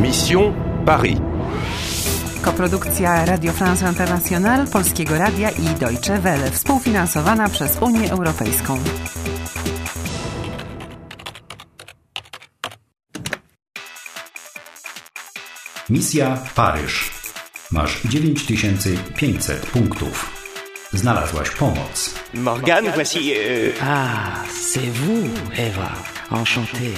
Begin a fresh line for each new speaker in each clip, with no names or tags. Mission Paris.
Koprodukcja Radio France International, Polskiego Radia i Deutsche Welle, współfinansowana przez Unię Europejską.
Misja Paryż. Masz 9500 punktów. Znalazłaś pomoc.
Morgane, voici. euh,
Ah, c'est vous, Eva. Enchantée.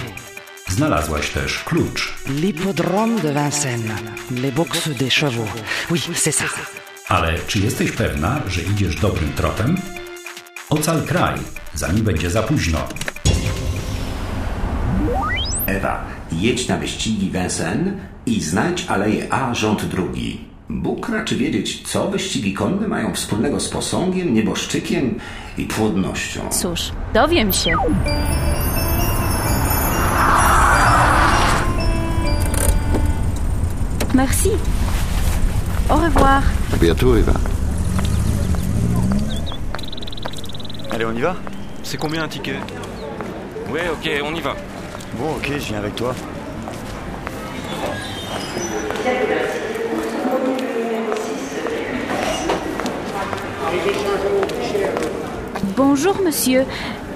Znalazłaś też klucz,
L'hippodrome de Vincennes. Les boxes des chevaux. Oui, c'est ça.
ale czy jesteś pewna, że idziesz dobrym tropem? Ocal kraj, zanim będzie za późno.
Ewa, jedź na wyścigi Vincennes i znajdź aleję A rząd drugi. Bóg raczy wiedzieć, co wyścigi konne mają wspólnego z posągiem, nieboszczykiem i płodnością.
Cóż, dowiem się. Merci. Au revoir.
Bientôt, Eva.
Allez, on y va C'est combien un ticket
Ouais, ok, on y va.
Bon, ok, je viens avec toi.
Bonjour, monsieur.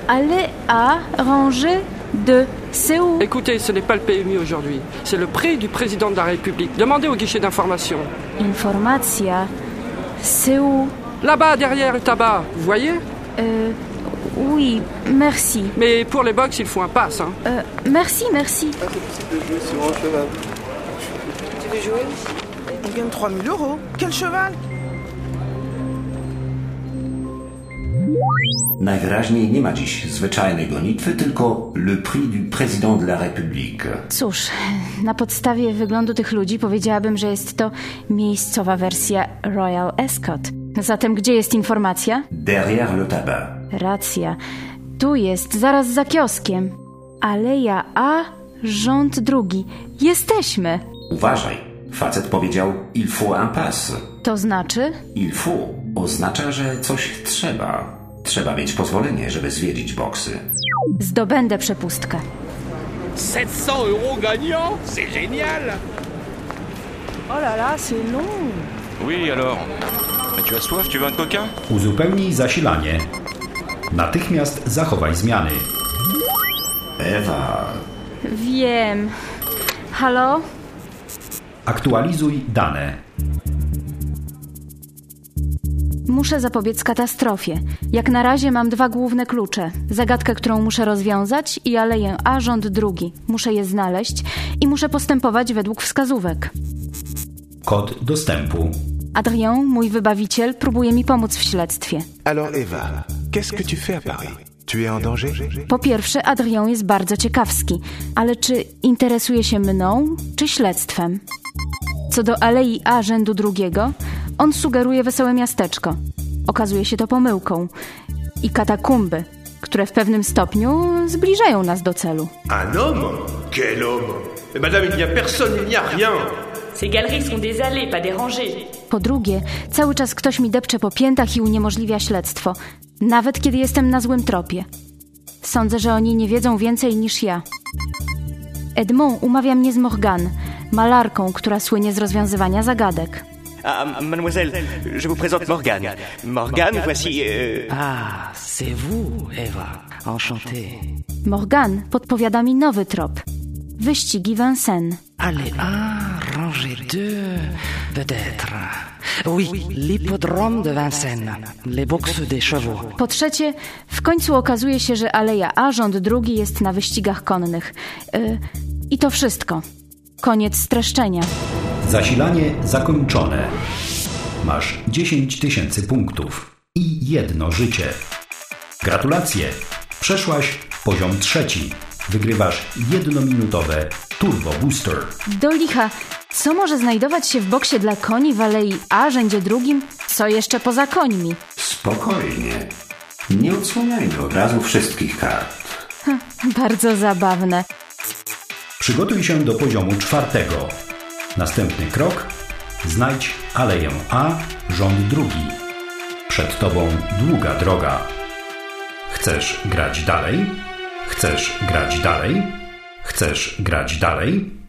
Allez à rangée 2. C'est où
Écoutez, ce n'est pas le PMI aujourd'hui. C'est le prix du président de la République. Demandez au guichet d'information.
Informacja. C'est où
Là-bas, derrière le tabac, vous voyez
Euh, oui, merci.
Mais pour les box, il faut un pass. Hein.
Euh, merci, merci.
On gagne 3000 euros. Quel cheval
Najwyraźniej nie ma dziś zwyczajnej gonitwy, tylko le prix du président de la République.
Cóż, na podstawie wyglądu tych ludzi powiedziałabym, że jest to miejscowa wersja Royal Ascot. Zatem gdzie jest informacja?
Derrière le tabac.
Racja. Tu jest, zaraz za kioskiem. Aleja A, rząd drugi. Jesteśmy.
Uważaj, facet powiedział il faut un pass.
To znaczy?
Il faut oznacza, że coś trzeba. Trzeba mieć pozwolenie, żeby zwiedzić boksy.
Zdobędę przepustkę.
700 euros gagnants C'est génial
Oh là là, c'est long.
Oui, alors Mais Tu as soif Tu veux un coquin
Uzupełnij zasilanie. Natychmiast zachowaj zmiany.
Ewa,
Wiem. Halo?
Aktualizuj dane.
Muszę zapobiec katastrofie. Jak na razie mam dwa główne klucze. Zagadkę, którą muszę rozwiązać i aleję A rząd drugi. Muszę je znaleźć i muszę postępować według wskazówek.
Kod dostępu.
Adrien, mój wybawiciel, próbuje mi pomóc w śledztwie.
Alors, Eva, qu'est-ce que tu fais à Paris Tu es en danger
Po pierwsze, Adrien jest bardzo ciekawski, ale czy interesuje się mną, czy śledztwem? Co do alei A rzędu drugiego, on sugeruje wesołe miasteczko. Okazuje się to pomyłką. I katakumby, które w pewnym stopniu zbliżają nas do celu.
Un homme Quel homme Eh, Madame, il n'y a personne, il n'y a rien
Ces galeries sont des allées, pas des rangées.
Po drugie, cały czas ktoś mi depcze po piętach i uniemożliwia śledztwo, nawet kiedy jestem na złym tropie. Sądzę, że oni nie wiedzą więcej niż ja. Edmond umawia mnie z Morgan, malarką, która słynie z rozwiązywania zagadek.
Ah, mademoiselle, je vous présente Morgane. Morgane, voici. euh,
Ah, c'est vous, Eva. Enchantée.
Morgan podpowiada mi nowy trop. Wyścigi Vincennes.
Allez, un, rangée 2, peut-être. Oui, l'hippodrome de Vincennes. Les boxes des chevaux.
Po trzecie, w końcu okazuje się, że Aleja A rząd drugi jest na wyścigach konnych. Y, I to wszystko. Koniec streszczenia.
Zasilanie zakończone. Masz 10 tysięcy punktów i jedno życie. Gratulacje! Przeszłaś poziom trzeci. Wygrywasz jednominutowe Turbo Booster.
Do licha, co może znajdować się w boksie dla koni w Alei A rzędzie drugim, co jeszcze poza końmi?
Spokojnie. Nie odsłaniajmy od razu wszystkich kart.
Bardzo zabawne.
Przygotuj się do poziomu czwartego. Następny krok. Znajdź aleję A, rząd drugi. Przed tobą długa droga. Chcesz grać dalej? Chcesz grać dalej? Chcesz grać dalej?